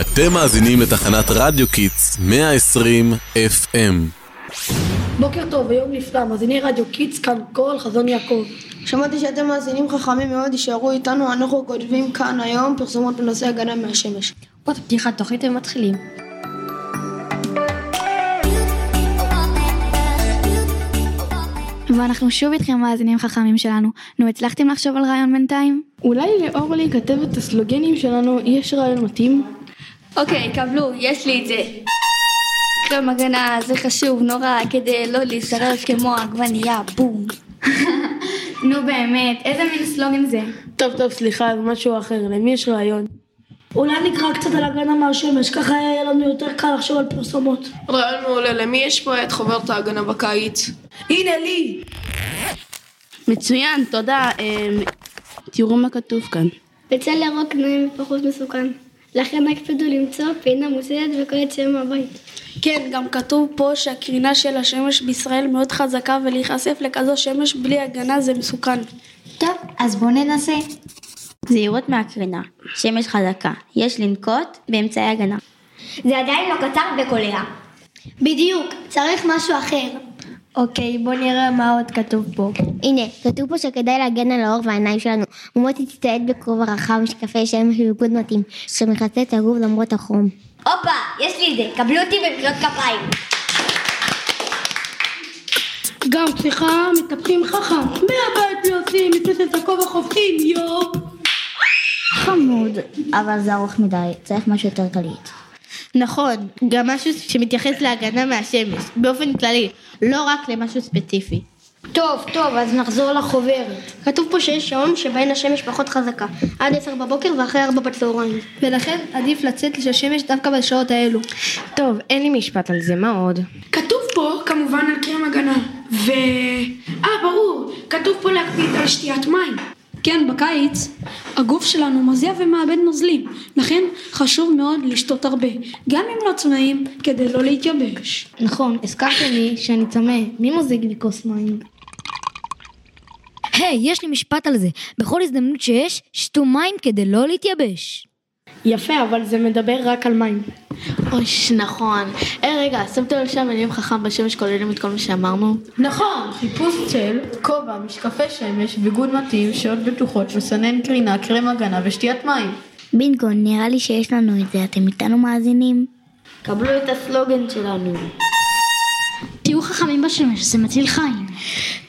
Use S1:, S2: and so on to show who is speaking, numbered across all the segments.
S1: אתם מאזינים לתחנת רדיו קיטס 120 FM.
S2: בוקר טוב, היום נפלא, מאזיני רדיו קיטס, כאן קול, חזון יעקב.
S3: שמעתי שאתם מאזינים חכמים מאוד, יישארו איתנו, אנחנו כותבים כאן היום פרסומות בנושא הגנה מהשמש.
S4: עוד פתיחת תוכנית ומתחילים.
S5: ואנחנו שוב איתכם מאזינים חכמים שלנו. נו, הצלחתם לחשוב על רעיון בינתיים?
S6: אולי לאורלי כתבת הסלוגנים שלנו יש רעיון מתאים?
S7: אוקיי, קבלו, יש לי את זה. קרם הגנה זה חשוב נורא כדי לא להישרף כמו עגבנייה, בום.
S5: נו באמת, איזה מין סלוגן זה?
S6: טוב טוב סליחה, זה משהו אחר, למי יש רעיון?
S2: אולי נקרא קצת על הגנה מהשמש, ככה יהיה לנו יותר קל לחשוב על פרסומות.
S8: רעיון מעולה, למי יש פה את חוברת ההגנה בקיץ?
S2: הנה לי!
S6: מצוין, תודה. תראו מה כתוב כאן.
S9: בצל ירוק נעים ופחות מסוכן. לכן הקפידו למצוא פינה מוסדת וקוראת שם הבית.
S10: כן, גם כתוב פה שהקרינה של השמש בישראל מאוד חזקה ולהיחשף לכזו שמש בלי הגנה זה מסוכן.
S11: טוב, אז בואו ננסה.
S12: זהירות מהקרינה, שמש חזקה, יש לנקוט באמצעי הגנה.
S13: זה עדיין לא קצר וקולע.
S14: בדיוק, צריך משהו אחר.
S15: אוקיי, בוא נראה מה עוד כתוב פה.
S16: הנה, כתוב פה שכדאי להגן על האור והעיניים שלנו. ומוטי תצטייד בכובע רחב משקפי שמש ובגוד מתאים, שמכסה את הגוף למרות החום.
S13: הופה, יש לי את זה, קבלו אותי במחיאות כפיים.
S2: גם צריכה מטפחים חכם, מהבית יוצאים, מפלצת הכובע חופכים, יואו.
S12: חמוד, אבל זה ארוך מדי, צריך משהו יותר קליט.
S15: נכון, גם משהו שמתייחס להגנה מהשמש, באופן כללי, לא רק למשהו ספציפי.
S14: טוב, טוב, אז נחזור לחוברת. כתוב פה שיש שעון שבהן השמש פחות חזקה, עד עשר בבוקר ואחרי ארבע בצהריים.
S15: ולכן עדיף לצאת של שמש דווקא בשעות האלו.
S17: טוב, אין לי משפט על זה, מה עוד?
S18: כתוב פה כמובן על קרם הגנה, ו... אה, ברור, כתוב פה להקפיד על שתיית מים.
S19: כן, בקיץ הגוף שלנו מזיע ומאבד נוזלים, לכן חשוב מאוד לשתות הרבה, גם אם לא צונאים, כדי לא להתייבש.
S6: נכון, הזכרתם לי שאני צמא, מי מוזג לי כוס מים?
S20: היי, hey, יש לי משפט על זה, בכל הזדמנות שיש, שתו מים כדי לא להתייבש.
S6: יפה, אבל זה מדבר רק על מים.
S15: אוש, נכון. היי, hey, רגע, שמתם לב שהמילים חכם בשמש כוללים את כל מה שאמרנו?
S6: נכון, חיפוש צל, כובע, משקפי שמש, ביגוד מתאים, שעות בטוחות, מסנן קרינה, קרם הגנה ושתיית מים.
S12: בינגו, נראה לי שיש לנו את זה, אתם איתנו מאזינים?
S3: קבלו את הסלוגן שלנו.
S4: תהיו חכמים בשמש, זה מציל חיים.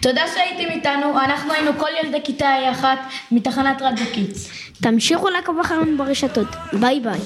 S3: תודה שהייתם איתנו, אנחנו היינו כל ילדי כיתה A1 מתחנת רדיו קיטס.
S14: תמשיכו לעקוב אחרינו ברשתות, ביי ביי.